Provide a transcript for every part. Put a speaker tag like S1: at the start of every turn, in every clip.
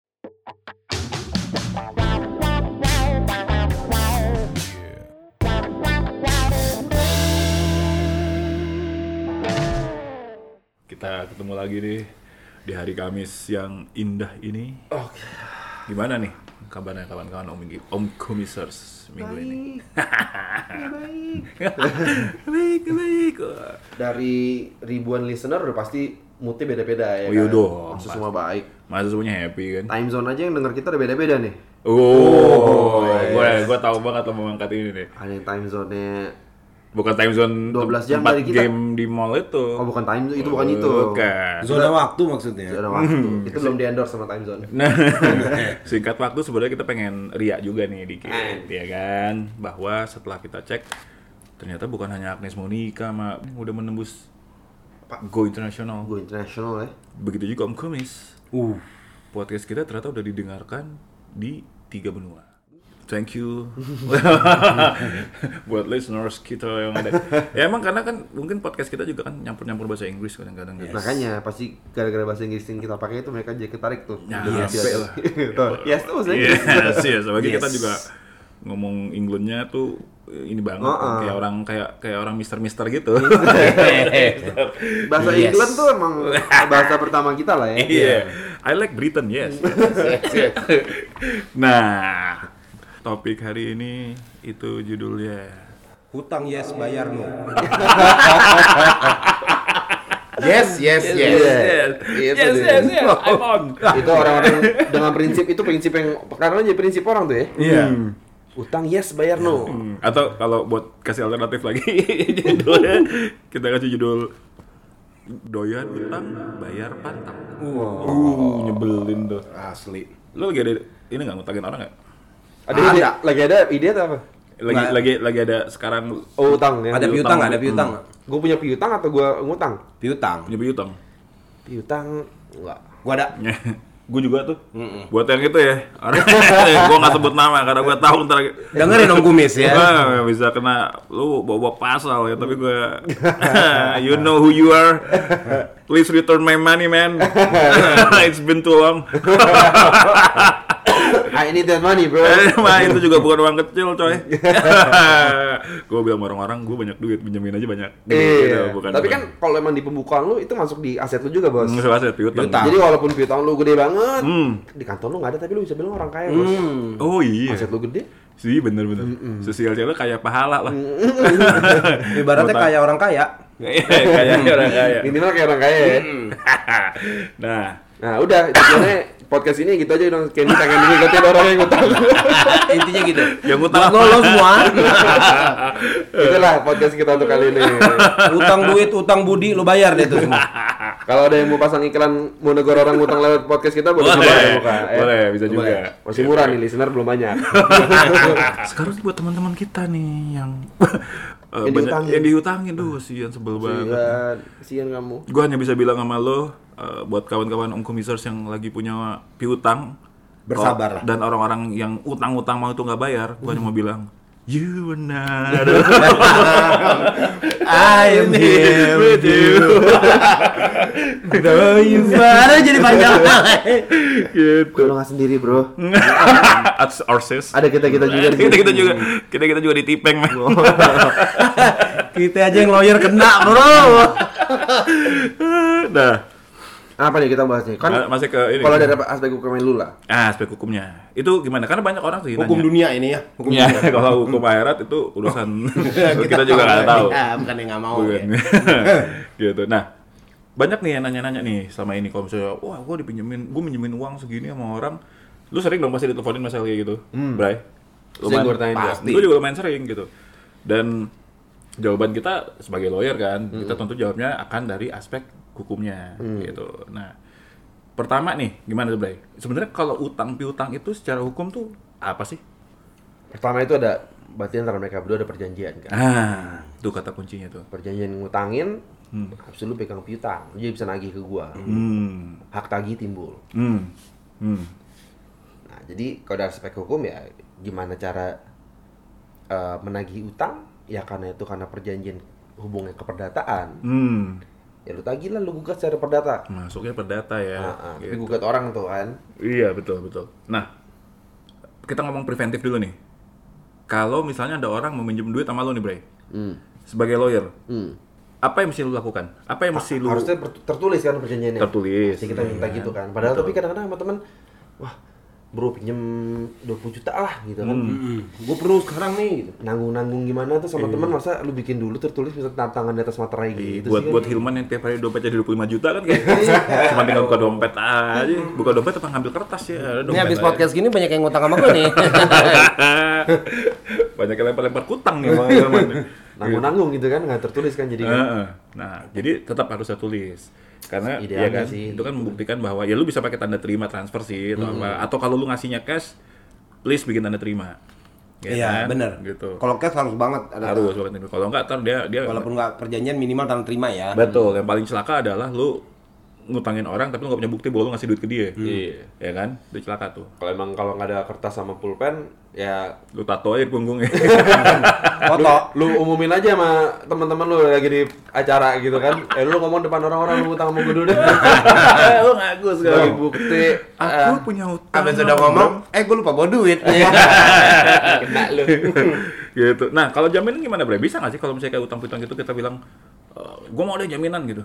S1: Iya. Kita ketemu lagi nih di hari Kamis yang indah ini.
S2: Oke.
S1: Gimana nih kabarnya kawan-kawan Om, Om Komisers minggu ini?
S2: Baik.
S1: baik, baik.
S2: Dari ribuan listener udah pasti moodnya beda-beda
S1: Oh,
S2: ya.
S1: iya
S2: kan?
S1: dong,
S2: Maksud
S1: pasti.
S2: semua baik.
S1: Masa semuanya happy kan?
S2: Time zone aja yang denger kita udah beda-beda nih.
S1: Oh, gue gue tahu banget lo mengangkat ini nih.
S2: Ada yang time zone-nya
S1: Bukan time zone
S2: 12 jam
S1: tempat
S2: dari kita.
S1: game di mall itu.
S2: Oh bukan time zone, itu bukan itu.
S1: Bukan.
S3: Zona waktu maksudnya.
S2: Ada waktu. itu belum di endorse sama time zone.
S1: Nah, singkat waktu sebenarnya kita pengen riak juga nih dikit, ya kan? Bahwa setelah kita cek ternyata bukan hanya Agnes Monica sama udah menembus Go International.
S2: Go international ya.
S1: Begitu juga Om Kumis.
S3: Uh,
S1: Podcast kita ternyata udah didengarkan di tiga benua. Thank you buat listeners kita yang ada. Ya emang karena kan mungkin podcast kita juga kan nyampur-nyampur bahasa Inggris kadang-kadang. kan.
S2: Makanya pasti gara-gara bahasa Inggris yang kita pakai itu mereka jadi ketarik tuh.
S1: Nah,
S2: Jadi
S1: yes.
S2: biasa. Tuh, yes tuh bahasa Inggris.
S1: Yes, yes. Iya, ya. Apalagi kita
S3: Yes.
S1: juga ngomong Englandnya tuh eh, ini banget
S2: Oh,
S1: kayak orang kayak kayak orang mister-mister gitu. Iya.
S2: Bahasa
S3: Yes.
S2: England tuh emang bahasa pertama kita lah ya.
S1: Iya. I like Britain, yes. nah, topik hari ini itu judulnya
S3: hutang yes bayar no.
S2: Yes, yes, Gitu yes.
S1: Yes,
S2: Itu
S1: yes,
S2: dia.
S1: yes, yes, I'm on.
S2: Itu orang-orang dengan prinsip itu prinsip yang karena jadi prinsip orang tuh ya.
S1: Iya.
S2: Utang yes bayar no.
S1: Hmm, Atau kalau buat kasih alternatif lagi judulnya kita kasih judul doyan utang bayar pantang.
S3: Wow,
S1: Uh, nyebelin tuh.
S3: asli.
S1: Lu lagi ada ini nggak ngutangin orang nggak?
S2: Ada, ide, lagi ada ide atau apa?
S1: Lagi
S3: Nggak.
S1: lagi lagi ada sekarang
S2: Oh, utang ya.
S3: Ada piutang nggak? Ada piutang nggak?
S2: Gue punya piutang atau gue ngutang?
S3: Piutang.
S1: punya piutang.
S2: Piutang enggak.
S3: Gua ada.
S1: gue juga tuh. Buat yang itu ya. Orang gue nggak sebut nama karena gue tahu ntar
S3: Dengerin Om Kumis ya.
S4: Iya.
S1: Wah, bisa kena lu bawa pasal ya tapi gue you know who you are please return my money man it's been too long
S2: I need that money, bro.
S1: Mah Eh, itu juga bukan uang kecil coy gue bilang sama orang-orang gue banyak duit pinjemin aja banyak duit, gitu,
S2: Iya.
S1: bukan
S2: Tapi
S1: bukan.
S2: kan kalau emang di pembukaan lu itu masuk di aset lu juga, Bos.
S1: Hmm, sewa aset, piutang.
S3: Piutang.
S2: Jadi walaupun piutang lu gede banget,
S1: Hmm.
S2: di kantor lu nggak ada tapi lu bisa bilang orang kaya, Bos.
S3: Hmm.
S1: Oh iya.
S2: Aset lu gede.
S1: Sih bener-bener. Sosialnya kayak pahala lah.
S3: Ibaratnya kayak orang kaya.
S1: kayak orang Iya, kaya. Hmm.
S2: Minimal kayak orang kaya ya.
S1: nah,
S2: Nah udah, tujuannya podcast ini gitu aja dong. Candy pengen ngikutin orang yang ngutang.
S1: Iya.
S3: Intinya gitu.
S1: Yang utang
S3: Buat lo,
S1: apa?
S3: lo semua.
S2: Itulah podcast kita untuk kali ini.
S3: utang duit, utang budi, lo bayar deh tuh semua.
S2: Kalau ada yang mau pasang iklan, mau negor orang ngutang lewat podcast kita, boleh
S1: boleh,
S2: coba ya,
S1: boleh,
S2: buka. Eh,
S1: bisa juga.
S2: Masih murah nih, listener belum banyak.
S1: Sekarang buat teman-teman kita nih yang eh,
S2: Yang
S1: banyak-
S2: diutangin.
S1: yang diutangin tuh sian sebel banget.
S2: Sian, sian kamu.
S1: Gue hanya bisa bilang sama lo eh, buat kawan-kawan Om Kumisers yang lagi punya piutang
S3: Bersabarlah.
S1: kalau- Dan orang-orang yang utang-utang mau itu nggak bayar, gue hanya mau bilang You were not
S3: I am here with you. Though you baru jadi panjang.
S1: gitu.
S2: Kalau nggak sendiri bro,
S1: Ats- or sis.
S2: ada kita kita juga. di
S1: kita
S2: sini.
S1: kita juga kita kita juga ditipeng man.
S3: Oh. Kita aja yang lawyer kena, bro.
S1: nah
S2: Apa nih kita bahas nih? Kan
S1: masih ke ini
S2: kalau dari aspek hukum lu lah.
S1: ah aspek hukumnya itu gimana karena banyak orang sih
S3: Hukum
S1: nanya.
S3: dunia ini ya. Hukum
S1: Ya, kalau hukum akhirat itu urusan kita, juga nggak tahu.
S3: Ah, bukan yang nggak mau.
S2: Oh,
S1: Bukan.
S2: iya.
S3: ya.
S1: gitu. Nah, banyak nih yang nanya-nanya nih sama ini kalau misalnya, wah gue dipinjemin, gue minjemin uang segini sama orang. Lu sering dong pasti diteleponin masalah kayak gitu, Bray?
S2: Hmm. Sering gua tanyain,
S1: pasti.
S2: pasti.
S1: Gue juga lumayan sering gitu. Dan jawaban kita sebagai lawyer kan,
S2: Hmm.
S1: kita tentu jawabnya akan dari aspek hukumnya gitu. Nah, pertama nih, gimana tuh, Bray? Sebenarnya kalau utang piutang itu secara hukum tuh apa sih?
S2: Pertama itu ada berarti antara mereka berdua ada perjanjian kan.
S1: Ah, itu kata kuncinya tuh.
S2: Perjanjian ngutangin, habis itu lu pegang piutang, lu jadi bisa nagih ke gua.
S1: Hmm.
S2: Hak tagih timbul.
S1: Hmm. Hmm.
S2: Nah, jadi kalau dari aspek hukum ya gimana cara eh, menagih utang? Ya karena itu karena perjanjian hubungannya ke perdataan.
S1: Hmm.
S2: Ya lu tagih lah, lu gugat secara perdata.
S1: Masuknya perdata ya.
S2: Nah, ah, tapi
S1: Gitu.
S2: gugat orang tuh kan.
S1: Iya, betul, betul. Nah, kita ngomong preventif dulu nih. Kalau misalnya ada orang meminjam duit sama lo nih, Bray.
S2: Hmm.
S1: Sebagai lawyer, apa yang mesti lu lakukan? Apa yang mesti lu
S2: Ah, harusnya ber- tertulis kan perjanjiannya
S1: Tertulis. Iya.
S2: Pasti kita minta gitu kan padahal tapi kadang-kadang sama teman wah bro pinjem 20 juta lah gitu kan
S1: Hmm.
S2: gue perlu sekarang nih gitu. nanggung-nanggung gimana tuh
S1: Iya.
S2: sama teman masa lu bikin dulu tertulis bisa tanda tangan di atas materai gitu
S1: buat
S2: sih Iya.
S1: buat
S2: kan.
S1: Hilman yang tiap hari dompetnya 25 juta kan kayak cuma tinggal buka dompet aja buka dompet apa ngambil kertas ya ada
S3: Ini
S1: dompet
S3: habis
S1: aja.
S3: podcast gini banyak yang ngutang sama gue nih.
S1: banyak yang lempar-lempar kutang nih sama Hilman
S2: nanggung-nanggung gitu kan nggak tertulis kan jadi kan.
S1: Heeh. nah jadi tetap harus saya tulis karena
S2: Idealnya
S1: ya kan
S2: sih.
S1: itu kan membuktikan bahwa ya lu bisa pakai tanda terima transfer sih atau apa atau kalau lu ngasihnya cash please bikin tanda terima Ya
S4: Iya,
S1: kan?
S4: bener.
S1: gitu
S4: Kalau cash harus banget ada.
S1: harus banget kalau enggak ntar dia dia
S4: Walaupun nggak perjanjian minimal tanda terima ya.
S1: Betul, yang paling celaka adalah lu ngutangin orang tapi lu gak punya bukti bahwa lu ngasih duit ke dia.
S2: Iya.
S1: Ya kan? Itu celaka tuh.
S2: kalau emang kalau nggak ada kertas sama pulpen ya
S1: Lu tato aja di punggungnya.
S4: Foto.
S2: lu umumin aja sama teman-teman lu lagi di acara gitu kan eh lu ngomong depan orang-orang lu utang sama gue dulu deh
S1: lu ngaku
S2: sebagai bukti
S1: Aku punya utang.
S4: Abis sudah ngomong, Iya. eh gue lupa bawa duit.
S2: kena lu
S1: gitu. Nah, kalau jaminan gimana, Bre? Bisa gak sih kalau misalnya kayak utang-utang gitu kita bilang "E, gua mau deh jaminan gitu.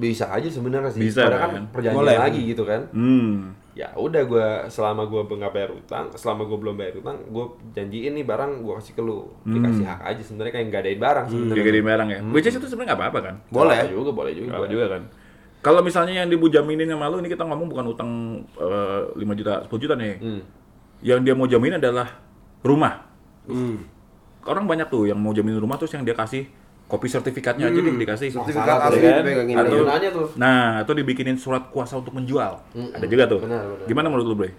S2: bisa aja sebenarnya sih
S1: Bisa,
S2: padahal kan
S1: kan?
S2: perjanjian
S4: Boleh.
S2: lagi gitu kan
S1: Hmm.
S2: ya udah gua selama gua nggak bayar utang selama gua belum bayar utang gua janjiin nih barang gua kasih ke lu dikasih hak aja sebenarnya kayak nggak adain barang sebenarnya
S1: Kayak gini merang ya. Which is itu sebenarnya gak apa-apa kan?
S4: Boleh.
S2: Hmm. Boleh juga boleh juga
S1: Gak apa juga kan. Kalau misalnya yang dibu jaminin sama lu ini kita ngomong bukan utang eh, 5 juta, 10 juta nih.
S2: Hmm.
S1: Yang dia mau jamin adalah rumah.
S4: Hmm.
S1: orang banyak tuh yang mau jamin rumah terus yang dia kasih kopi sertifikatnya aja deh dikasih
S4: Sertifikat
S2: Hmm. Salah tuh,
S4: asli
S2: kan?
S4: dipegangin
S2: Ada
S1: dulu.
S2: gunanya tuh Hmm.
S1: nah atau dibikinin surat kuasa untuk menjual ada juga tuh
S2: Benar, benar.
S1: gimana menurut lu Bray?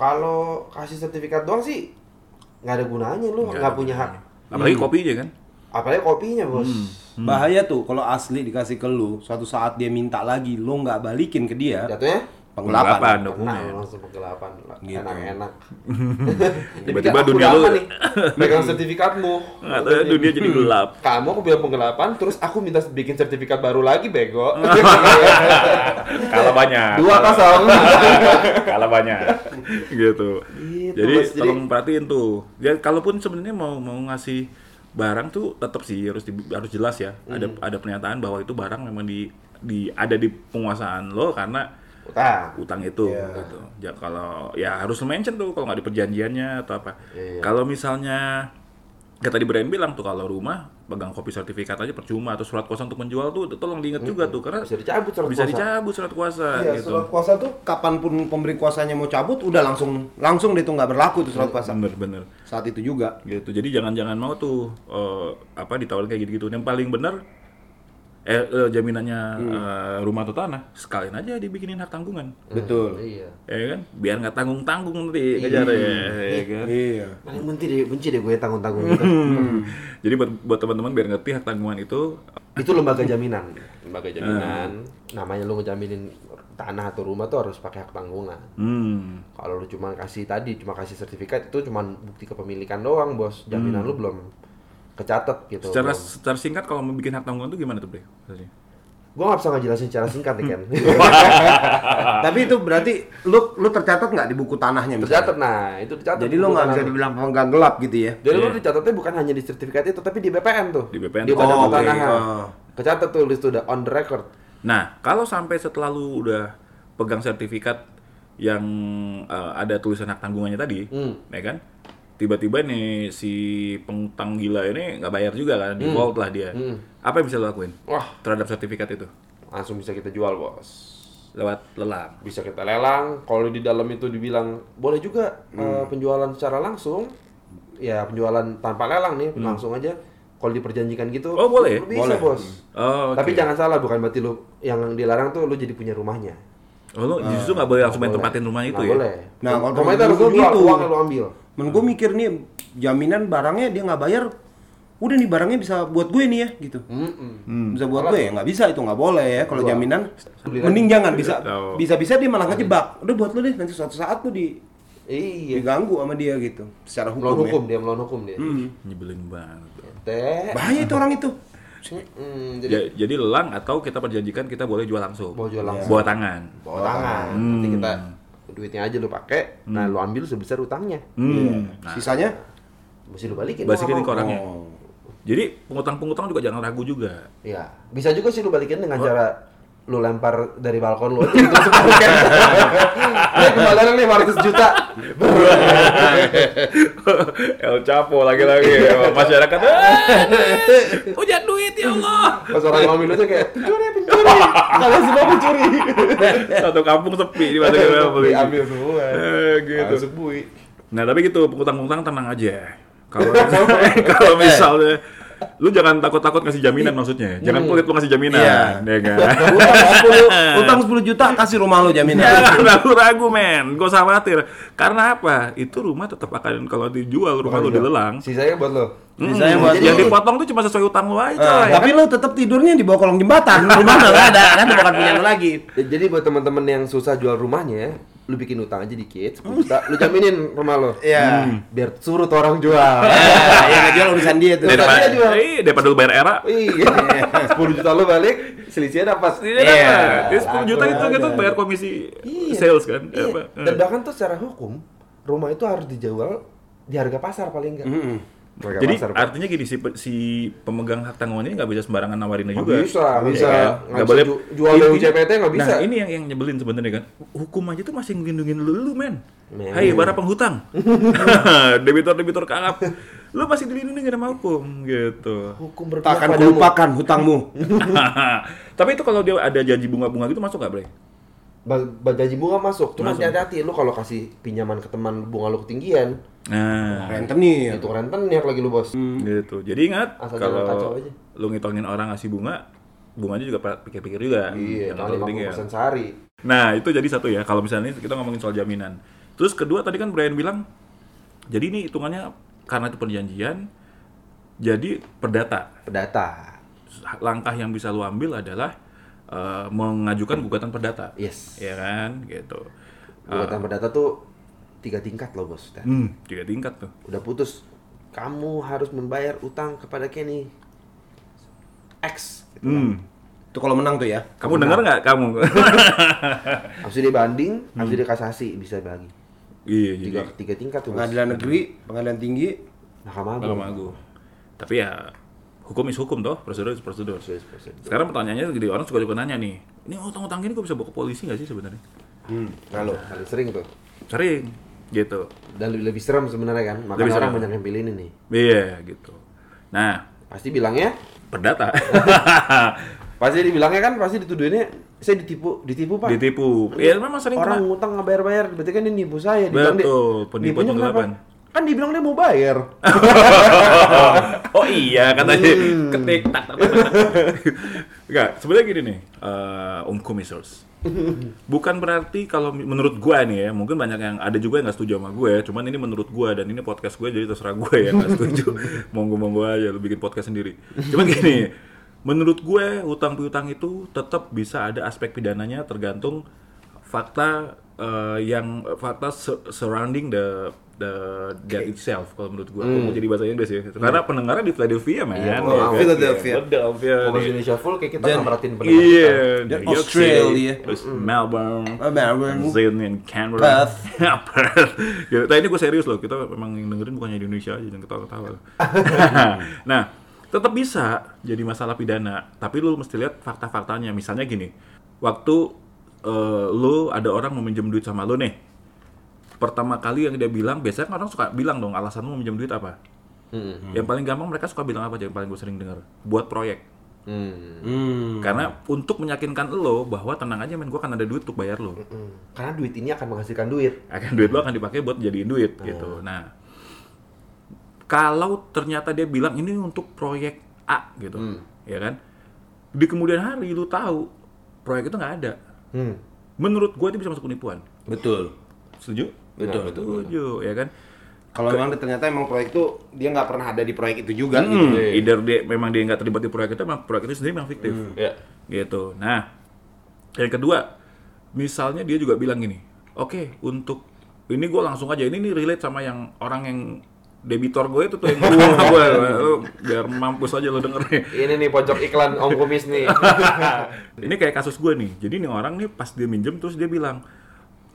S2: kalau kasih sertifikat doang sih nggak ada gunanya Hmm. lu nggak punya hak
S1: apalagi kopi aja kan
S2: apalagi kopinya bos
S4: Bahaya tuh kalau asli dikasih ke lu, suatu saat dia minta lagi, lu nggak balikin ke dia,
S2: jatuhnya
S1: Penggelapan
S4: Ya, penggelapan.
S1: dokumen
S2: Kena langsung penggelapan
S4: Gitu.
S2: enak-enak
S1: Tiba-tiba dunia lu- ya?
S2: megang sertifikatmu
S1: nggak tahu ya, dunia jadi gelap
S2: kamu aku bilang penggelapan terus aku minta bikin sertifikat baru lagi bego
S1: kalah banyak
S2: dua kosong
S1: kalah banyak gitu
S2: Gitu,
S1: jadi
S2: Mas. Jadi-
S1: tolong perhatiin tuh ya kalaupun sebenarnya mau mau ngasih barang tuh tetap sih harus di- harus jelas ya ada
S2: Hmm.
S1: ada pernyataan bahwa itu barang memang di di ada di penguasaan lo karena
S2: utang
S1: utang itu
S2: Iya.
S1: gitu. Ya kalau ya harus mention tuh kalau nggak di perjanjiannya atau apa.
S2: Iya.
S1: Kalau misalnya kayak tadi Brian bilang tuh kalau rumah pegang kopi sertifikat aja percuma atau surat kuasa untuk menjual tuh tolong diingat juga tuh karena
S2: bisa dicabut surat
S1: bisa
S2: kuasa.
S1: dicabut surat kuasa
S4: Iya,
S1: gitu.
S4: surat kuasa tuh kapanpun pemberi kuasanya mau cabut, udah langsung langsung deh tuh nggak berlaku tuh surat kuasa.
S1: Bener bener
S4: Saat itu juga.
S1: gitu. Jadi jangan-jangan mau tuh eh, apa ditawarin kayak gitu-gitu. Yang paling bener eh, eh, jaminannya
S2: Hmm.
S1: eh, rumah atau tanah sekalian aja dibikinin hak tanggungan.
S4: Betul.
S2: iya
S1: Ya kan? Biar nggak tanggung-tanggung nanti ngejar ya, ya kan?
S4: Iya.
S2: paling benci deh benci deh gue tanggung tanggung gitu
S1: Hmm. Jadi buat buat teman-teman biar ngerti hak tanggungan itu
S2: itu lembaga jaminan lembaga
S1: Hmm.
S2: jaminan namanya lu ngejaminin tanah atau rumah tuh harus pakai hak tanggungan
S1: hmm,
S2: kalau lu cuma kasih tadi cuma kasih sertifikat itu cuma bukti kepemilikan doang bos jaminan
S4: Hmm.
S2: lu belum kecatat gitu
S1: secara
S2: Belum.
S1: secara singkat kalau mau bikin hak tanggungan itu gimana tuh, Bre?
S2: gue nggak bisa ngejelasin secara singkat nih
S4: Hmm.
S2: kan
S4: Tapi itu berarti lu lu tercatat nggak di buku tanahnya misalnya?
S2: tercatat nah itu tercatat
S4: Jadi lu nggak bisa
S2: Bukan-
S4: dibilang penggang gelap gitu ya?
S2: Jadi lu dicatatnya bukan hanya di sertifikat itu, tapi di BPN tuh.
S1: Di BPN.
S2: Di Badan
S4: Oh, oke.
S2: Pertanahan.
S4: Ah.
S2: Kecatat tuh list udah on the record.
S1: Nah, kalau sampai setelah lu udah pegang sertifikat yang eh, ada tulisan hak tanggungannya tadi,
S2: Hmm.
S1: ya kan? Tiba-tiba nih si pengutang gila ini nggak bayar juga kan, default lah dia. Apa yang bisa lu lakuin?
S2: Hmm. Wah.
S1: terhadap sertifikat itu
S2: Langsung bisa kita jual, Bos.
S1: lewat lelang.
S2: Bisa kita lelang. Kalau di dalam itu dibilang boleh juga
S1: Hmm.
S2: eh, penjualan secara langsung. Ya, penjualan tanpa lelang nih, langsung aja. Kalau diperjanjikan gitu.
S1: Hmm. Oh, boleh?
S2: lu Bisa,
S4: Boleh.
S2: Bos.
S1: Oh, oke.
S2: Tapi jangan salah, bukan berarti lu yang dilarang tuh lu jadi punya rumahnya.
S1: Oh, lu justru nggak boleh langsung main
S2: Boleh.
S1: tempatin rumah itu
S2: Nggak
S1: ya?
S2: Boleh.
S4: Nah, kalau
S2: rumah itu
S4: menurut
S2: harus
S4: gua
S2: dijual,
S4: gitu.
S2: uangnya lu ambil.
S4: Men gue mikir nih jaminan barangnya dia nggak bayar, udah nih barangnya bisa buat gue nih ya gitu. Bisa buat gue ya nggak bisa itu nggak boleh ya kalau jaminan. Mending jangan bisa
S1: Tahu.
S4: bisa bisa dia malah ngejebak. Udah buat lu deh nanti suatu saat lu di
S2: Iya.
S4: diganggu sama dia gitu secara
S2: Melawan
S4: hukum,
S2: hukum
S4: ya.
S2: dia, melawan hukum
S1: Mm.
S2: dia.
S1: Nyebelin banget.
S2: Teh.
S4: Bahaya itu orang itu.
S2: Mm, jadi
S4: Ya.
S1: Ja- Ya, jadi lelang atau kita perjanjikan kita boleh jual langsung.
S2: Boleh jual langsung.
S1: Bawa tangan.
S2: bawa tangan. Nanti kita duitnya aja lu pakai
S1: Mm.
S2: nah lu ambil sebesar utangnya
S1: Hmm. Nah,
S4: Sisanya
S2: mesti lu balikin
S1: balikin ke
S2: mau nggak mau.
S1: orangnya. Jadi pengutang-pengutang juga jangan ragu juga.
S2: Iya. bisa juga sih lu balikin dengan cara lu lempar dari balkon lu aja gitu langsung kan. Ini kembalian nih 500 juta.
S1: El Chapo lagi-lagi ya, masyarakat. "Ah, Hujan duit ya Allah.
S2: Pas orang ngambil aja kayak pencuri pencuri. Kalian semua pencuri.
S1: Gitu. Satu kampung sepi di masa
S2: Diambil semua.
S1: Eh, gitu.
S2: Langsung bui.
S1: Nah tapi gitu pengutang-pengutang tenang aja. Kalau kalau misalnya lu jangan takut-takut ngasih jaminan maksudnya. Jangan pelit lu ngasih jaminan,
S4: Iya.
S1: ya kan?
S4: utang 10 juta kasih rumah lo jaminan.
S1: Jangan ragu-ragu men, gak usah khawatir. Karena apa? Itu rumah tetap akan kalau dijual rumah lu dilelang.
S2: Sisanya Iya. buat Ah, lo.
S1: Mm,
S4: Sisanya buat
S1: yang
S4: lu.
S1: dipotong tuh cuma sesuai utang lu aja.
S4: Nah,
S1: coy. Iya,
S4: tapi lo tetap tidurnya di bawah kolong jembatan. Rumah lo nggak ada, kan bukan punya lo lagi.
S2: Ya, Jadi buat teman-teman yang susah jual rumahnya, lu bikin utang aja dikit, 10 juta, lu jaminin rumah lo.
S4: Iya.
S2: Biar surut orang jual.
S4: Ya, yang nggak jual urusan dia tuh.
S2: Dari
S1: daripada,
S2: Utangnya jual.
S1: eh, daripada lu bayar era.
S2: Iya. 10 juta lu balik, selisihnya dapat.
S1: Iya. Jadi 10
S2: laku
S1: juta itu
S2: aja.
S1: gitu bayar komisi sales kan.
S2: ya. Iya.
S1: Apa?
S2: Dan bahkan tuh secara hukum, rumah itu harus dijual di harga pasar paling enggak. Harga
S1: Jadi
S2: pasar.
S1: artinya gini si, pe- si pemegang hak tanggungannya nggak bisa sembarangan nawarinnya
S2: Nggak
S1: juga.
S2: bisa, nggak
S1: Iya
S2: bisa.
S1: kan?
S2: Nggak
S1: Nggak
S2: bisa
S1: boleh
S2: ju- jual
S1: Ini-
S2: BUJPT nggak bisa.
S1: Nah ini yang yang nyebelin sebenarnya kan. Hukum aja tuh masih ngelindungin lu, lu men.
S2: Men.
S1: Hai para penghutang, debitor debitor kalap, lu masih dilindungi sama hukum gitu.
S2: hukum berpihak
S4: Takkan
S2: padamu.
S4: kulupakan hutangmu.
S1: Iya. Tapi itu kalau dia ada janji bunga-bunga gitu masuk nggak Bre?
S2: Ba- ba- gaji bunga masuk, cuma hati-hati lu kalau kasih pinjaman ke teman bunga lu ketinggian,
S1: Nah,
S4: Rentenir.
S2: itu rentenir lagi lu bos.
S1: gitu. Jadi ingat
S2: Asal jangan kacau
S1: kalau
S2: aja.
S1: lu ngitungin orang ngasih bunga, bunganya juga pa- pikir-pikir juga. Jangan
S2: Iya, jangan
S1: terlalu tinggi
S2: lima
S1: ya.
S2: persen sehari.
S1: Nah, itu jadi satu ya. Kalau misalnya kita ngomongin soal jaminan. Terus kedua tadi kan Brian bilang jadi ini hitungannya karena itu perjanjian jadi perdata.
S2: Perdata,
S1: Langkah yang bisa lu ambil adalah eh, mengajukan gugatan perdata.
S2: yes.
S1: Ya kan? Gitu.
S2: Gugatan perdata tuh tiga tingkat loh bos. Udah.
S1: Hmm, tiga tingkat tuh.
S2: Udah putus, kamu harus membayar utang kepada Kenny. X. Gitu.
S1: Hmm.
S4: Itu kalau menang tuh ya.
S1: Kamu dengar nggak kamu?
S2: Habis dia banding, habis dia kasasi bisa bagi.
S1: iya, jadi
S2: Tiga, tiga tingkat tuh bos.
S4: Pengadilan negeri, pengadilan tinggi.
S2: Mahkamah Agung.
S1: Mahkamah Agung. Tapi ya hukum is hukum toh, prosedur is prosedur.
S2: Yes, bos.
S1: Sekarang pertanyaannya gede orang suka juga nanya nih, ini utang-utang ini gue bisa bawa ke polisi nggak sih sebenarnya?
S2: Nah lo, paling sering tuh.
S1: Sering, gitu.
S2: Dan lebih, lebih serem sebenarnya kan. Makanya
S1: Lebih
S2: orang
S1: serem.
S2: banyak yang pilih ini nih.
S1: Iya, gitu. Nah,
S2: Pasti ya. bilangnya,
S1: perdata
S2: pasti dibilangnya kan pasti dituduhinnya saya ditipu, ditipu Pak.
S1: ditipu. Ya memang sering
S2: Orang
S1: kena.
S2: ngutang nggak bayar-bayar, berarti kan dia nipu saya. Dibilang
S1: Betul,
S2: dia-
S1: penipu
S2: nipunya kenapa?
S1: penggelapan.
S2: Kan dibilang dia mau bayar.
S1: Oh iya katanya ketik tak tak. tak, tak. Enggak, sebenarnya gini nih, eh Om Kumisers. Bukan berarti kalau mi- menurut gua nih ya, mungkin banyak yang ada juga yang nggak setuju sama gue, cuman ini menurut gua dan ini podcast gue jadi terserah gue ya nggak setuju. Monggo-monggo aja lu bikin podcast sendiri. Cuman gini, menurut gue utang piutang itu tetap bisa ada aspek pidananya tergantung fakta eh, yang fakta sur- surrounding the the that itself kalau menurut gua. Aku mau jadi bahasa Inggris ya. Karena pendengarnya di Philadelphia man. Ya,
S2: oh,
S1: kan?
S4: Philadelphia.
S1: Philadelphia.
S2: Kalau
S1: nih.
S2: Indonesia full kayak kita
S4: Dan-
S2: nggak merhatiin pendapat.
S1: Iya,
S4: Dan
S1: New York
S4: Australia.
S1: City, terus Melbourne,
S4: Eh, Melbourne.
S1: Sydney, and Canberra, Ya,
S4: Perth.
S1: Perth. Gitu. Nah ini gue serius loh, kita memang yang dengerin bukannya di Indonesia aja, jangan ketawa-ketawa. nah, tetap bisa jadi masalah pidana, tapi lu mesti lihat fakta-faktanya. Misalnya gini, waktu eh, lu ada orang mau minjem duit sama lu nih, pertama kali yang dia bilang, biasanya kan orang suka bilang dong alasan lu mau minjem duit apa.
S2: Hmm,
S4: Hmm.
S1: Yang paling gampang mereka suka bilang apa aja yang paling gue sering dengar, buat proyek.
S2: Hmm.
S4: Hmm.
S1: Karena untuk meyakinkan lo bahwa tenang aja men, gue kan ada duit untuk bayar lo.
S2: Hmm. Karena duit ini akan menghasilkan duit.
S1: Akan duit lo akan dipakai buat jadiin duit gitu. Nah, kalau ternyata dia bilang ini untuk proyek A gitu,
S4: Hmm.
S1: ya kan? Di kemudian hari lu tahu proyek itu nggak ada.
S2: Hmm.
S1: Menurut gue itu bisa masuk penipuan.
S4: Betul.
S1: Setuju?
S4: Betul,
S1: Nah, Setuju, ya kan?
S4: Kalau memang ternyata emang proyek itu dia nggak pernah ada di proyek itu juga gitu.
S1: Hmm, either dia memang dia nggak terlibat di proyek itu, memang proyek itu sendiri memang fiktif. gitu. Nah, yang kedua, misalnya dia juga bilang gini, oke untuk ini gue langsung aja ini nih relate sama yang orang yang debitor gue itu tuh yang ngomong sama gue, Lu biar mampus aja lo dengernya.
S2: Ini nih pojok iklan Om Kumis nih.
S1: ini kayak kasus gue nih, jadi nih orang nih pas dia minjem terus dia bilang,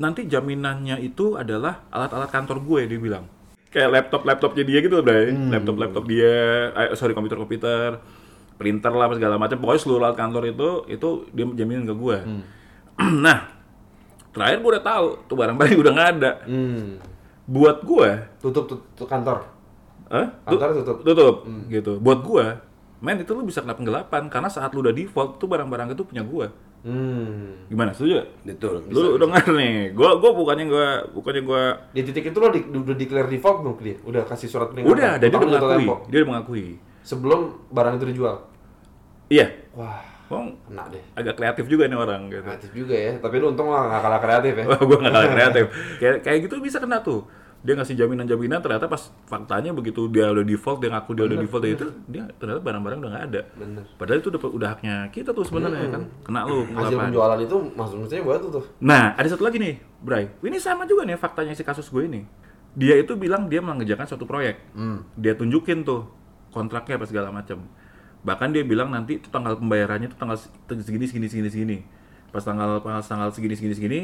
S1: nanti jaminannya itu adalah alat-alat kantor gue dia bilang kayak laptop laptopnya dia gitu bray laptop laptop dia eh, sorry komputer komputer printer lah apa segala macam pokoknya seluruh alat kantor itu itu dia jaminan ke gue nah terakhir gue udah tahu tuh barang-barang udah nggak ada
S2: Hmm.
S1: buat gue
S2: Tutup, tutup, tutup kantor.
S1: Hah?
S2: Kantornya
S1: Tu-
S2: tutup.
S1: Tutup, gitu. Buat gua, men itu lu bisa kena penggelapan karena saat lu udah default tuh barang-barang itu punya gua.
S2: Hmm.
S1: Gimana? Setuju?
S4: Betul.
S1: Lu dengar nih, gua gua bukannya gua bukannya gua
S2: Di titik itu lo di, udah declare default belum ke dia? Udah kasih surat peringatan.
S1: udah, dan dia
S2: Utang
S1: udah
S2: jatuh
S1: mengakui.
S2: tempo.
S1: Dia udah mengakui.
S2: Sebelum barang itu dijual.
S1: Iya.
S2: Wah,
S1: Wong
S2: kena deh.
S1: agak kreatif juga nih orang gitu.
S2: Kreatif juga ya, tapi lu untung lah nggak kalah kreatif ya.
S1: Wah, gua gak kalah kreatif. Kayak kayak gitu bisa kena tuh. Dia ngasih jaminan-jaminan ternyata pas faktanya begitu dia udah default, dia ngaku dia udah default dia itu dia ternyata barang-barang udah nggak ada.
S2: Bener.
S1: Padahal itu udah, udah haknya kita tuh sebenarnya kan. Kena lu
S2: Hasil
S1: penggelapan.
S2: penjualan itu maksud maksudnya buat itu tuh.
S1: Nah, ada satu lagi nih, Bray. Ini sama juga nih faktanya si kasus gue ini. Dia itu bilang dia mengerjakan suatu proyek. Dia tunjukin tuh kontraknya apa segala macam. Bahkan dia bilang nanti itu tanggal pembayarannya itu tanggal se- segini segini segini segini. Pas tanggal pas tanggal segini segini segini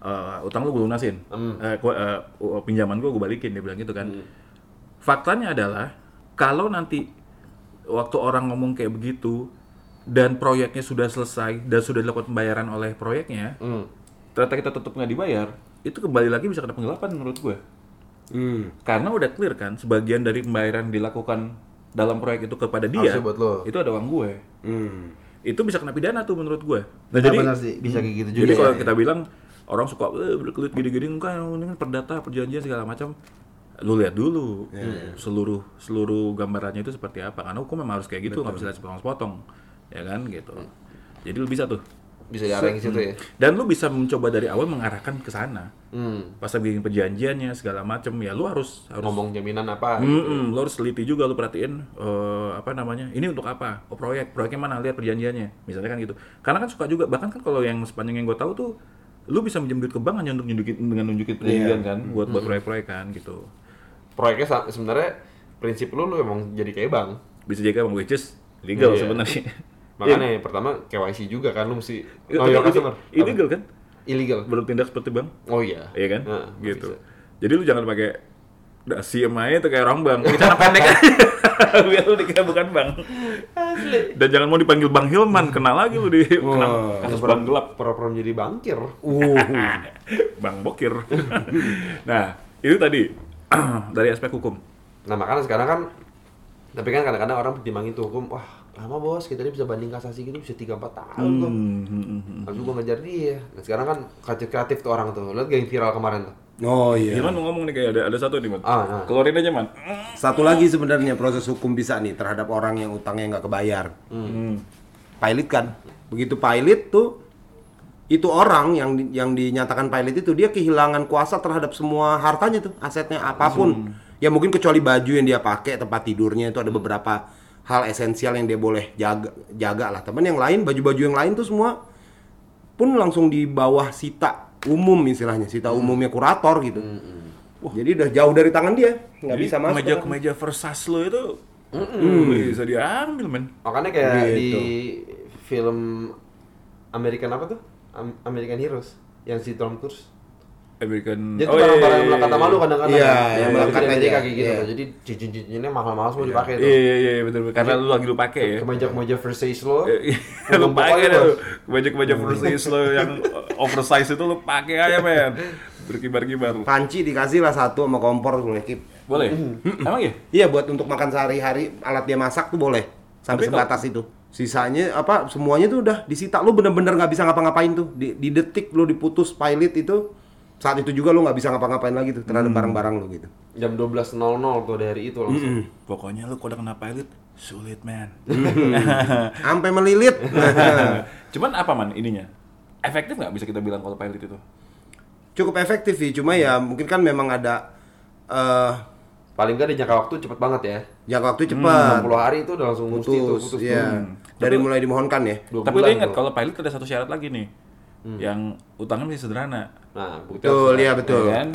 S1: eh, utang lu gue lunasin. Eh, gua, eh, u- pinjaman gue gue balikin dia bilang gitu kan. Faktanya adalah kalau nanti waktu orang ngomong kayak begitu dan proyeknya sudah selesai dan sudah dilakukan pembayaran oleh proyeknya,
S2: Hmm.
S1: ternyata kita tetap nggak dibayar, itu kembali lagi bisa kena penggelapan menurut gue.
S4: Hmm.
S1: Karena udah clear kan, sebagian dari pembayaran dilakukan dalam proyek itu kepada dia,
S2: Harusnya buat lo.
S1: itu ada uang gue.
S4: Hmm.
S1: Itu bisa kena pidana tuh menurut gue. Nah,
S3: Nah,
S1: jadi,
S3: benar sih, bisa kayak gitu juga.
S1: jadi kalau
S3: ya.
S1: kita bilang orang suka eh, berkelit gini-gini, enggak, ini kan perdata, perjanjian segala macam. Lu lihat dulu
S3: Iya,
S1: seluruh seluruh gambarannya itu seperti apa. Karena hukum memang harus kayak gitu, nggak bisa lihat sepotong-sepotong, ya kan gitu. Jadi lu bisa tuh.
S2: Bisa diarahin ke situ ya.
S1: Dan lu bisa mencoba dari awal mengarahkan ke sana.
S2: Hmm.
S1: pas bikin perjanjiannya segala macem ya lu harus harus
S2: Ngomong jaminan apa?
S1: Mm-mm, lu harus teliti juga lu perhatiin eh, apa namanya ini untuk apa oh, proyek proyeknya mana lihat perjanjiannya misalnya kan gitu karena kan suka juga bahkan kan kalau yang sepanjang yang gue tahu tuh lu bisa minjem duit ke bank hanya untuk nyundukin dengan nunjukin
S2: Iya.
S1: perjanjian kan
S2: Hmm.
S1: buat buat proyek-proyek kan gitu
S2: Proyeknya sa- sebenarnya prinsip lu lu emang jadi kayak bank.
S1: bisa jadi bang which is legal
S2: Iya.
S1: sebenarnya
S2: Makanya yang pertama KYC juga kan lu mesti
S1: Iya.
S2: know your customer.
S1: illegal kan
S2: Apa? Illegal.
S1: bertindak seperti bank
S2: Oh iya.
S1: Iya kan?
S2: Nah,
S1: gitu.
S2: bisa.
S1: Jadi lu jangan pakai udah siem aja tuh kayak orang bang. Pakai celana pendek aja. Biar lu dikira bukan bang. Dan jangan mau dipanggil Bang Hilman, kena lagi lu di kena kasus bang gelap,
S2: Pura-pura menjadi bankir.
S4: Uh.
S1: bang bokir. nah, itu tadi dari aspek hukum.
S2: Nah makanya sekarang kan, tapi kan kadang-kadang orang pertimbangin tuh hukum, wah lama bos, kita ini bisa banding kasasi gitu bisa 3-4 tahun
S1: Hmm,
S2: tuh. Habis itu gua ngejar dia. Nah sekarang kan kreatif-kreatif tuh orang tuh, lihat gak yang viral kemarin tuh.
S4: Oh iya.
S1: Hilman mau ngomong nih kayak ada ada satu nih, Man.
S2: Ya. Ah, nah.
S1: Keluarin aja, Man.
S4: Satu lagi sebenarnya proses hukum bisa nih terhadap orang yang utangnya nggak kebayar. Pilot kan. Begitu pilot tuh itu orang yang di- yang dinyatakan pilot itu dia kehilangan kuasa terhadap semua hartanya tuh, asetnya apapun. Ya mungkin kecuali baju yang dia pakai, tempat tidurnya itu ada beberapa hal esensial yang dia boleh jaga jaga lah. Teman yang lain baju-baju yang lain tuh semua pun langsung di bawah sita umum istilahnya, sita umumnya kurator gitu. Wah, jadi udah jauh dari tangan dia, nggak
S1: Jadi
S4: bisa masuk.
S1: Kemeja
S4: orang.
S1: kemeja Versace lu itu bisa diambil, Man.
S2: Makanya kayak
S4: Gitu.
S2: di film American apa tuh? Am- American Heroes yang si Tom Cruise.
S1: American.
S2: Jadi
S1: Oh,
S2: tuh
S1: iya,
S2: barang-barang
S1: iya,
S2: yang melekat sama lu kadang-kadang.
S4: Iya,
S2: kan?
S4: yang
S2: Jadi
S4: melekat
S2: dia
S4: aja.
S2: kayak gitu.
S4: Iya.
S2: tuh. Jadi cincin-cincinnya mahal-mahal semua dipakai tuh.
S1: Iya, iya, iya, betul. betul. Karena lu lagi lu pakai ya.
S2: Kemeja-kemeja Versace lo.
S1: Iya, lu pakai
S2: Pokoknya,
S1: deh lu
S2: Bos.
S1: kemeja-kemeja oversize lo yang oversize itu lu pakai aja men berkibar-kibar
S4: Panci dikasih lah satu sama kompor boleh Kip.
S1: boleh emang ya
S4: Iya buat untuk makan sehari-hari alat dia masak tuh boleh
S1: Tapi
S4: sampai
S1: kalau-
S4: sebatas itu. Sisanya apa semuanya tuh udah disita lu bener-bener nggak bisa ngapa-ngapain tuh di, di detik lu diputus pilot itu saat itu juga lu nggak bisa ngapa-ngapain lagi tuh terhadap barang-barang lu gitu.
S2: Jam 12.00 tuh dari itu langsung.
S1: Hmm. pokoknya lu kodang kena pilot sulit men
S4: Sampai melilit.
S1: cuman apa man ininya efektif nggak bisa kita bilang kalau pilot itu
S4: Cukup efektif sih cuma ya mungkin kan memang ada eh
S2: Paling nggak di jangka waktu cepet banget ya.
S4: jangka waktu
S1: Nah.
S4: cepat.
S2: 60 hari itu udah langsung mesti itu
S4: Hmm, putus,
S1: iya.
S2: putus.
S4: ya. Dari mulai dimohonkan ya.
S2: Dua
S1: tapi lu
S2: bulan
S1: ingat
S2: tuh.
S1: kalau pilot ada satu syarat lagi nih yang utangnya masih sederhana
S2: Nah, bukti
S4: Betul,
S2: harus-
S4: iya betul.
S1: Ya kan?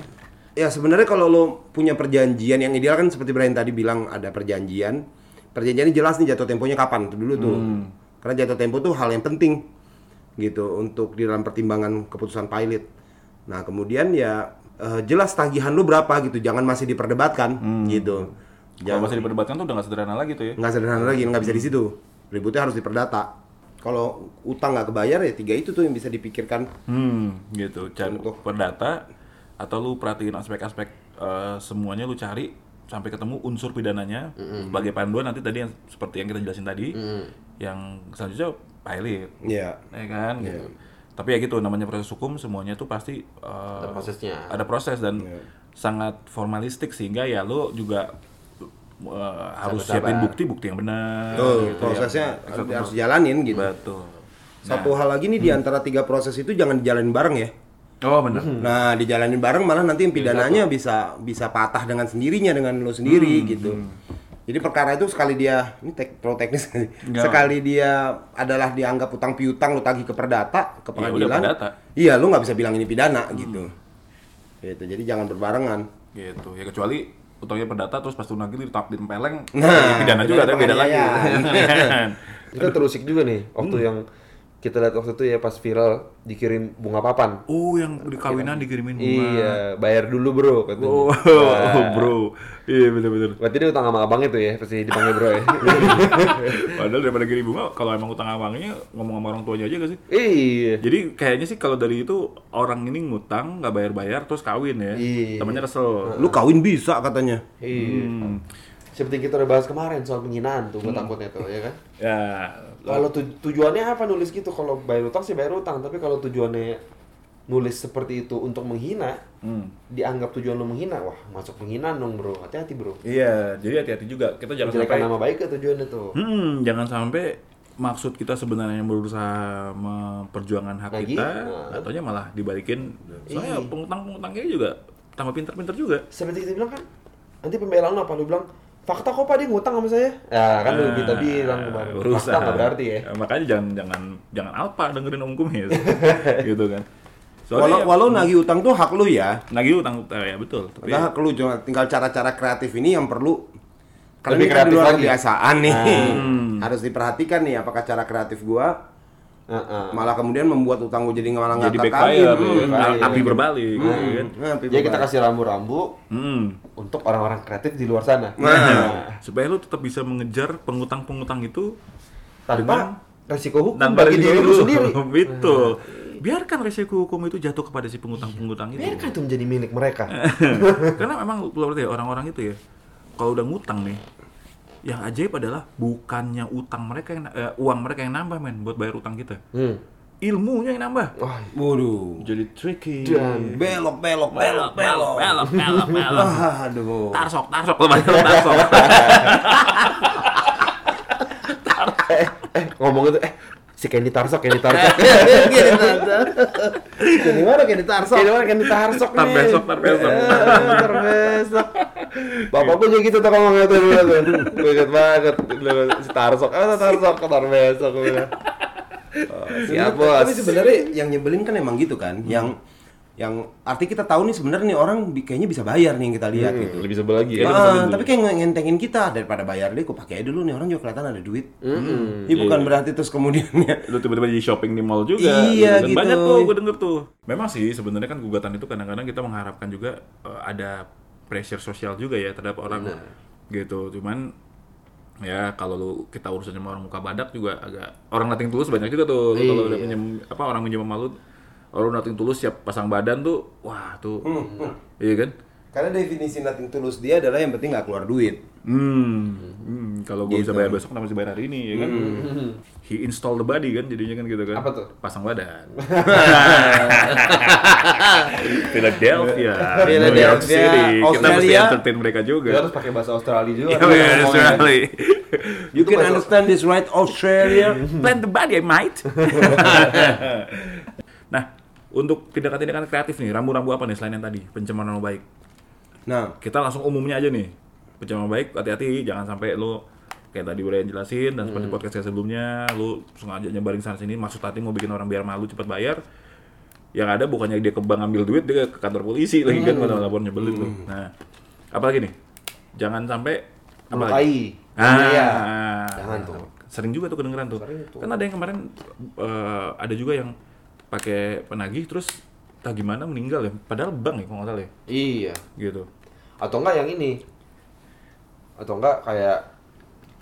S4: Ya sebenarnya kalau lo punya perjanjian yang ideal kan seperti Brian tadi bilang ada perjanjian. Perjanjiannya jelas nih jatuh temponya kapan itu dulu tuh. Karena jatuh tempo tuh hal yang penting gitu untuk di dalam pertimbangan keputusan pilot. Nah, kemudian ya eh, jelas tagihan lu berapa gitu, jangan masih diperdebatkan gitu.
S1: Kalau
S4: Jangan
S1: masih diperdebatkan tuh udah nggak sederhana lagi tuh ya.
S4: nggak sederhana lagi, nggak bisa di situ. Ributnya harus diperdata. Kalau utang nggak kebayar ya tiga itu tuh yang bisa dipikirkan.
S1: Hmm, gitu. Cari
S4: Contoh.
S1: perdata atau lu perhatiin aspek-aspek eh, semuanya lu cari sampai ketemu unsur pidananya sebagai panduan nanti tadi yang seperti yang kita jelasin tadi, yang selanjutnya pilot,
S4: Ya.
S1: ya kan? Gitu. Tapi ya gitu namanya proses hukum semuanya tuh pasti eh,
S2: Ada prosesnya.
S1: ada proses dan
S4: Iya.
S1: sangat formalistik sehingga ya lu juga eh, harus siapin bukti-bukti yang benar.
S4: Tuh,
S1: gitu ya.
S4: prosesnya
S1: Satu-
S4: harus jalanin gitu.
S1: Betul.
S4: Satu
S1: Nah.
S4: hal lagi nih di
S1: Hmm.
S4: antara tiga proses itu jangan dijalanin bareng ya.
S1: Oh benar.
S4: Nah, dijalanin bareng malah nanti
S1: Iya,
S4: yang pidananya bisa bisa patah dengan sendirinya dengan lo sendiri
S1: Hmm,
S4: gitu. Jadi perkara itu sekali dia ini tek, terlalu teknis sekali dia adalah dianggap utang piutang lo tagih ke
S1: Iya,
S4: perdata ke
S1: udah
S4: pengadilan.
S1: perdata. Hmm.
S4: Iya, lo nggak bisa bilang ini pidana gitu. Gitu. Jadi jangan berbarengan.
S1: gitu ya kecuali utangnya perdata terus pas tunagi ditap ditempeleng
S4: Nah,
S1: nah, pidana juga ada beda lagi
S4: penganiayaan.
S1: Kan?
S2: Kita terusik juga nih waktu
S1: Hmm.
S2: yang kita lihat waktu itu ya pas viral dikirim bunga papan.
S1: oh yang di kawinan dikirimin bunga
S2: Iya, bayar dulu bro katanya.
S1: oh, bro iya bener bener
S2: Berarti dia utang sama abang itu ya, pasti dipanggil bro ya.
S1: padahal daripada kirim bunga kalau emang utang abangnya ngomong sama orang tuanya aja gak sih
S2: iya.
S1: jadi kayaknya sih kalau dari itu orang ini ngutang nggak bayar-bayar terus kawin ya
S2: Iya.
S1: temannya kesel
S4: Lo kawin bisa katanya.
S2: Iya.
S1: Hmm.
S2: Seperti yang kita udah bahas kemarin soal penghinaan tuh, gue takutnya tuh, ya kan?
S1: ya
S2: Kalau tu- tujuannya apa nulis gitu? Kalau bayar utang sih bayar utang, tapi kalau tujuannya nulis seperti itu untuk menghina,
S1: hmm.
S2: dianggap tujuan lu menghina, wah masuk penghinaan dong bro, hati-hati bro.
S1: iya jadi hati-hati juga kita jangan sampai
S2: Menjelekan nama baik ke tujuannya tuh.
S1: Hmm, jangan sampai maksud kita sebenarnya yang berusaha memperjuangkan hak
S2: Lagi?
S1: kita,
S2: Nah.
S1: katanya malah dibalikin. Soalnya pengutang-pengutangnya juga tambah pintar-pintar juga.
S2: Seperti kita bilang kan, nanti pembelaan lu apa? Lu bilang, fakta kok pak dia ngutang sama saya? Ya kan
S4: Ah,
S2: lu kita bilang, Bang. fakta nggak berarti ya.
S1: Ah, Makanya jangan jangan jangan alpa dengerin Om Kumis. gitu kan.
S4: Walau
S1: Soalnya
S4: walau nagih utang tuh hak lo ya.
S1: lagi utang eh, ya betul. Tapi
S4: Nah, kalau cuma tinggal cara-cara kreatif ini yang perlu karena
S2: Lebih
S4: ini kan di
S2: kreatif
S4: luar
S2: lagi.
S4: kebiasaan nih.
S1: Ah.
S4: Harus diperhatikan nih apakah cara kreatif gua
S2: Heeh.
S4: malah kemudian membuat utang gua jadi malah nggak
S1: jadi
S4: terkawin.
S1: backfire, ya,
S4: Hmm.
S1: kan?
S2: backfire.
S1: api berbalik. gitu
S2: Hmm.
S1: kan.
S4: Nah, tapi
S2: Jadi kita
S4: beban.
S2: kasih rambu-rambu
S1: Hmm.
S2: untuk orang-orang kreatif di luar sana.
S4: Nah.
S1: Supaya lu tetap bisa mengejar pengutang-pengutang itu
S2: Tanpa resiko hukum
S1: dan
S2: bagi diri lu sendiri.
S4: Gitu.
S2: Nah.
S1: Betul. Biarkan resiko hukum itu jatuh kepada si pengutang-pengutang itu.
S2: Biarkan itu menjadi milik mereka.
S4: Eh.
S1: Karena memang lu berarti ya, orang-orang itu ya, kalau udah ngutang nih, yang ajaib adalah bukannya utang mereka yang eh, uang mereka yang nambah men buat bayar utang kita.
S2: Hmm.
S1: Ilmunya yang nambah.
S2: Wah,
S1: Oh,
S4: Waduh.
S1: Jadi tricky.
S2: Dan-
S4: Belok belok belok belok.
S1: belok, belok, belok. Ah,
S4: Aduh.
S1: Tarsok, tarsok, lu bayar tarsok.
S2: eh ngomong itu eh si Kenny Tarsok, Kenny Tarsok.
S4: Jadi mana kayak ditarsok?
S2: Kenny mana Kenny Tarsok nih.
S1: Tar besok, tar besok.
S2: Eh, Tar besok. Bapak gue juga gitu tuh ngomongnya tuh dulu tuh. Gue inget banget dulu, si Tarsok. Ah, Tarsok, Tar besok gue bilang. Oh, Siap
S4: Tapi-
S2: bos.
S4: Tapi sebenarnya yang nyebelin kan emang gitu kan,
S1: Hmm.
S4: yang yang arti kita tahu nih sebenarnya nih orang bi- kayaknya bisa bayar nih yang kita lihat gitu.
S2: Lebih sebel lagi ya.
S1: Iya, lu
S4: Ah,
S1: pesan dulu.
S4: tapi kayak nge- ngentengin kita daripada bayar deh, kok pakai aja dulu nih orang juga kelihatan ada duit. Ini
S1: Iya,
S4: bukan berarti terus ya. kemudiannya
S1: lu tiba-tiba jadi shopping di mall juga
S4: Iya,
S1: Dan
S4: gitu.
S1: banyak tuh gue denger tuh memang sih sebenarnya kan gugatan itu kadang-kadang kita mengharapkan juga eh, ada pressure sosial juga ya terhadap orang gitu cuman ya kalau lu kita urusan sama orang muka badak juga agak orang nating tulus banyak juga tuh Lu kalau
S4: Iya.
S1: udah pinjam apa orang pinjam sama lu orang nating tulus siap pasang badan tuh wah tuh
S4: Hmm.
S1: iya kan
S4: Karena definisi nothing tulus dia adalah yang penting nggak keluar duit.
S1: hmm, hmm, kalau gue bisa
S2: Gitu.
S1: bayar besok kenapa masih bayar hari ini ya kan he install the body kan jadinya kan gitu kan
S2: Hmm. Apa tuh?
S1: pasang badan Philadelphia, New York
S4: Philadelphia,
S1: City. Kita mesti
S4: Australia.
S1: entertain mereka juga.
S2: Dia harus pakai bahasa Australia juga.
S1: Yeah, yeah,
S2: iya.
S1: Australia.
S4: You can
S2: anu-
S4: understand this right,
S1: Iya,
S4: Australia?
S1: Plan the body, I might. nah, untuk tindakan-tindakan kreatif nih, rambu-rambu apa nih selain yang tadi? Pencemaran nama baik.
S4: Nah,
S1: Kita langsung umumnya aja nih. Pencemaran nama baik, hati-hati, jangan sampai lo kayak tadi udah yang jelasin dan
S2: Hmm.
S1: seperti podcast saya sebelumnya, lo sengaja nyebarin sana sini, maksud hati mau bikin orang biar malu cepat bayar. Yang ada bukannya dia ke bank ambil duit, dia ke kantor polisi lagi
S2: Hmm.
S1: kan malah lapor nyebelin tuh. Nah, apalagi nih? Jangan sampai apa lagi?
S2: Melukai.
S1: Ah,
S2: Iya. Jangan tuh.
S1: Sering juga tuh kedengeran tuh. Kan ada yang kemarin eh, ada juga yang pakai penagih terus entah gimana meninggal ya. Padahal bank ya kalau nggak salah ya.
S2: Iya.
S1: Gitu.
S2: Atau enggak yang ini? Atau enggak kayak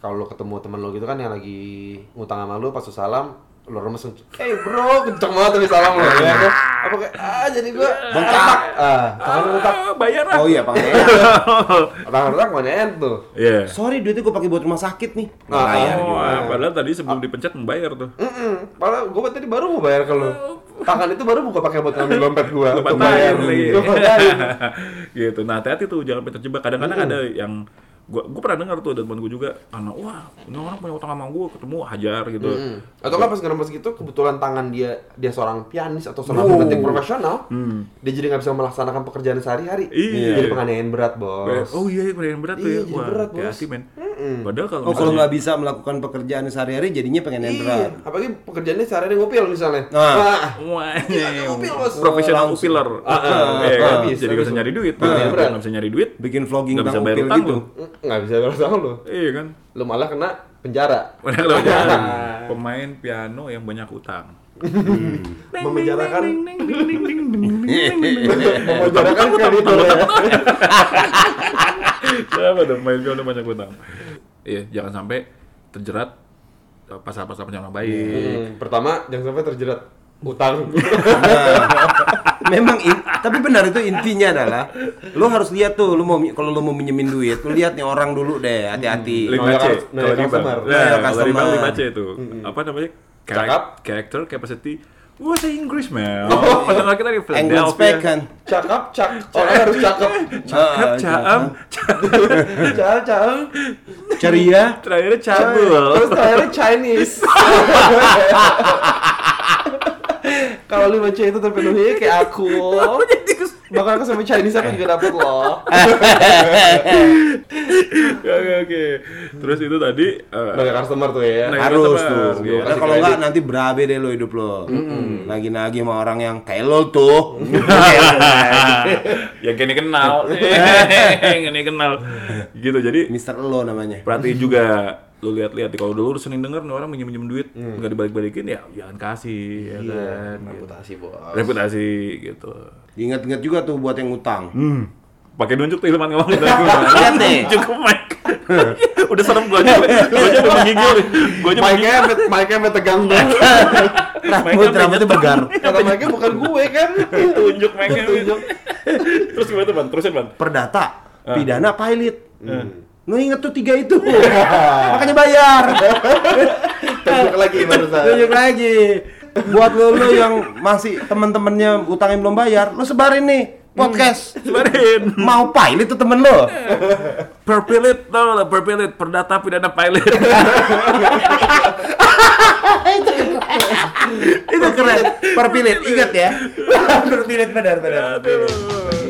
S2: kalau lo ketemu temen lo gitu kan yang lagi ngutang sama lo pas lo salam lo remes eh bro kenceng banget tapi salam lo ya kan? apa kayak ah jadi gua bentak ah tangan bentak
S1: Ah, bayar lah.
S4: Oh iya, Pak.
S2: tangan bentak mana tuh
S1: Iya.
S4: Sorry, duitnya gue pakai buat rumah sakit nih.
S2: Ah,
S4: Nah. Nggak bayar.
S1: Oh, padahal tadi sebelum dipencet membayar tuh.
S2: Mm-mm. Padahal gue tadi baru mau bayar ke lu. Tangan itu baru buka pakai buat ngambil dompet gue.
S1: Lu patahin lagi. iya. gitu. Nah, hati-hati tuh jangan sampai terjebak. Kadang-kadang
S4: Hmm.
S1: ada yang gua gua pernah dengar tuh dari teman gua juga karena wah ini orang punya utang sama gua ketemu hajar gitu.
S4: Hmm.
S2: Atau kan pas ngeremes gitu kebetulan tangan dia dia seorang pianis atau seorang pemetik profesional, dia jadi nggak bisa melaksanakan pekerjaan sehari-hari.
S1: Iya.
S2: Jadi penganiayaan berat bos.
S1: Oh iya, iya, yang berat tuh ya.
S2: Iya, jadi
S1: Wah,
S2: berat, Bos.
S1: hati men. Padahal kalau
S4: Oh, kalau
S1: misalnya-
S4: nggak bisa melakukan pekerjaan sehari-hari, jadinya pengen yang berat.
S2: Iya. Apalagi pekerjaannya sehari-hari ngopil misalnya.
S4: Nah.
S2: Wah,
S1: Wah,
S2: upil, Bos.
S1: profesional
S4: Langsung.
S1: upiler.
S2: Ah, ah,
S1: Iya
S2: ah,
S1: kan?
S2: habis,
S1: Jadi nggak
S2: habis.
S1: bisa nyari duit.
S2: Ah,
S1: Nggak
S2: berat.
S1: nggak bisa nyari duit.
S4: Bikin vlogging
S1: Nggak bisa
S4: tentang
S1: bayar
S4: upil
S1: utang
S4: gitu.
S1: lu.
S2: nggak bisa beres sama lu.
S1: Iya kan.
S2: Lu malah kena penjara.
S1: Padahal kalau jalan, pemain piano yang banyak utang.
S2: Memenjarakan
S1: Utang, Iya.
S2: memenjarakan
S1: utang,
S2: kreditor ya.
S1: Siapa dong main piano banyak utang? Iya, jangan sampai terjerat eh, pasal-pasal penyamaran baik.
S2: Hmm, Pertama jangan sampai terjerat utang.
S4: Memang, in- tapi benar itu intinya adalah, lu harus lihat tuh, lu mau kalau lu mau minjemin duit, lu lihat nih orang dulu deh, hati-hati.
S1: Lima C,
S2: Noel
S1: kalau di bank.
S2: customer.
S1: Nah,
S4: Noel
S1: kalau di bank
S4: customer.
S1: lima C itu. Apa namanya? Charac-
S2: Cakap.
S1: Character, capacity. Wah, saya Inggris, Mel. Padahal kita di
S4: England
S1: Philadelphia.
S4: spec kan.
S2: cakep cak orang harus cakep
S1: Cakep,
S4: Ah,
S1: caem,
S2: cakep cakep
S4: ceria.
S1: terakhirnya
S2: terus
S1: cabul.
S2: terakhir Chinese kalau lima C itu terpenuhi kayak aku bakal aku sama Chinese aku juga dapet loh
S1: Oke, oke. Terus itu tadi eh,
S2: banyak customer tuh ya
S1: Nah,
S4: harus
S1: customer.
S4: tuh.
S1: Iya,
S4: Karena
S1: kasih
S4: kalau
S1: kredit.
S4: nggak nanti berabe deh lo hidup lo. Lagi-lagi sama orang yang kayak lo tuh. Kayak lo lagi.
S1: yang Ya gini kenal yang gini kenal gitu jadi
S4: Mister lo namanya.
S1: perhatiin juga lu lihat-lihat di kalau dulu lu sering denger nih orang minjem minjem duit nggak dibalik-balikin ya jangan kasih ya kan
S2: iya.
S1: gitu.
S2: reputasi bos
S1: reputasi gitu
S4: Ingat-ingat juga tuh buat yang utang.
S1: Hmm. pakai nunjuk tuh ilman ngomong gitu
S4: Lihat nih.
S1: cukup mic udah serem gua aja gua aja udah menggigil nih. gua aja menggigil
S2: Mike-nya Mike-nya sampai tegang banget
S4: Rambut Nah, rambutnya begar.
S2: kata Mike-nya bukan gue kan
S1: tunjuk mic-nya terus gimana tuh ban terusin ban
S4: Perdata,
S1: Ah.
S4: pidana, pilot.
S1: Hmm.
S4: Lo inget tuh tiga itu. Makanya bayar.
S2: tunjuk lagi barusan
S4: Tunjuk lagi. Buat lo lo yang masih temen-temennya utangnya belum bayar, lo sebarin nih podcast.
S1: sebarin Eh.
S4: Mau pilot tuh temen lo.
S1: perpilit tau lah perpilit perdata pidana pilot
S4: Itu keren. Perpilit, ingat ya. Perpilit benar-benar.
S1: Aduh.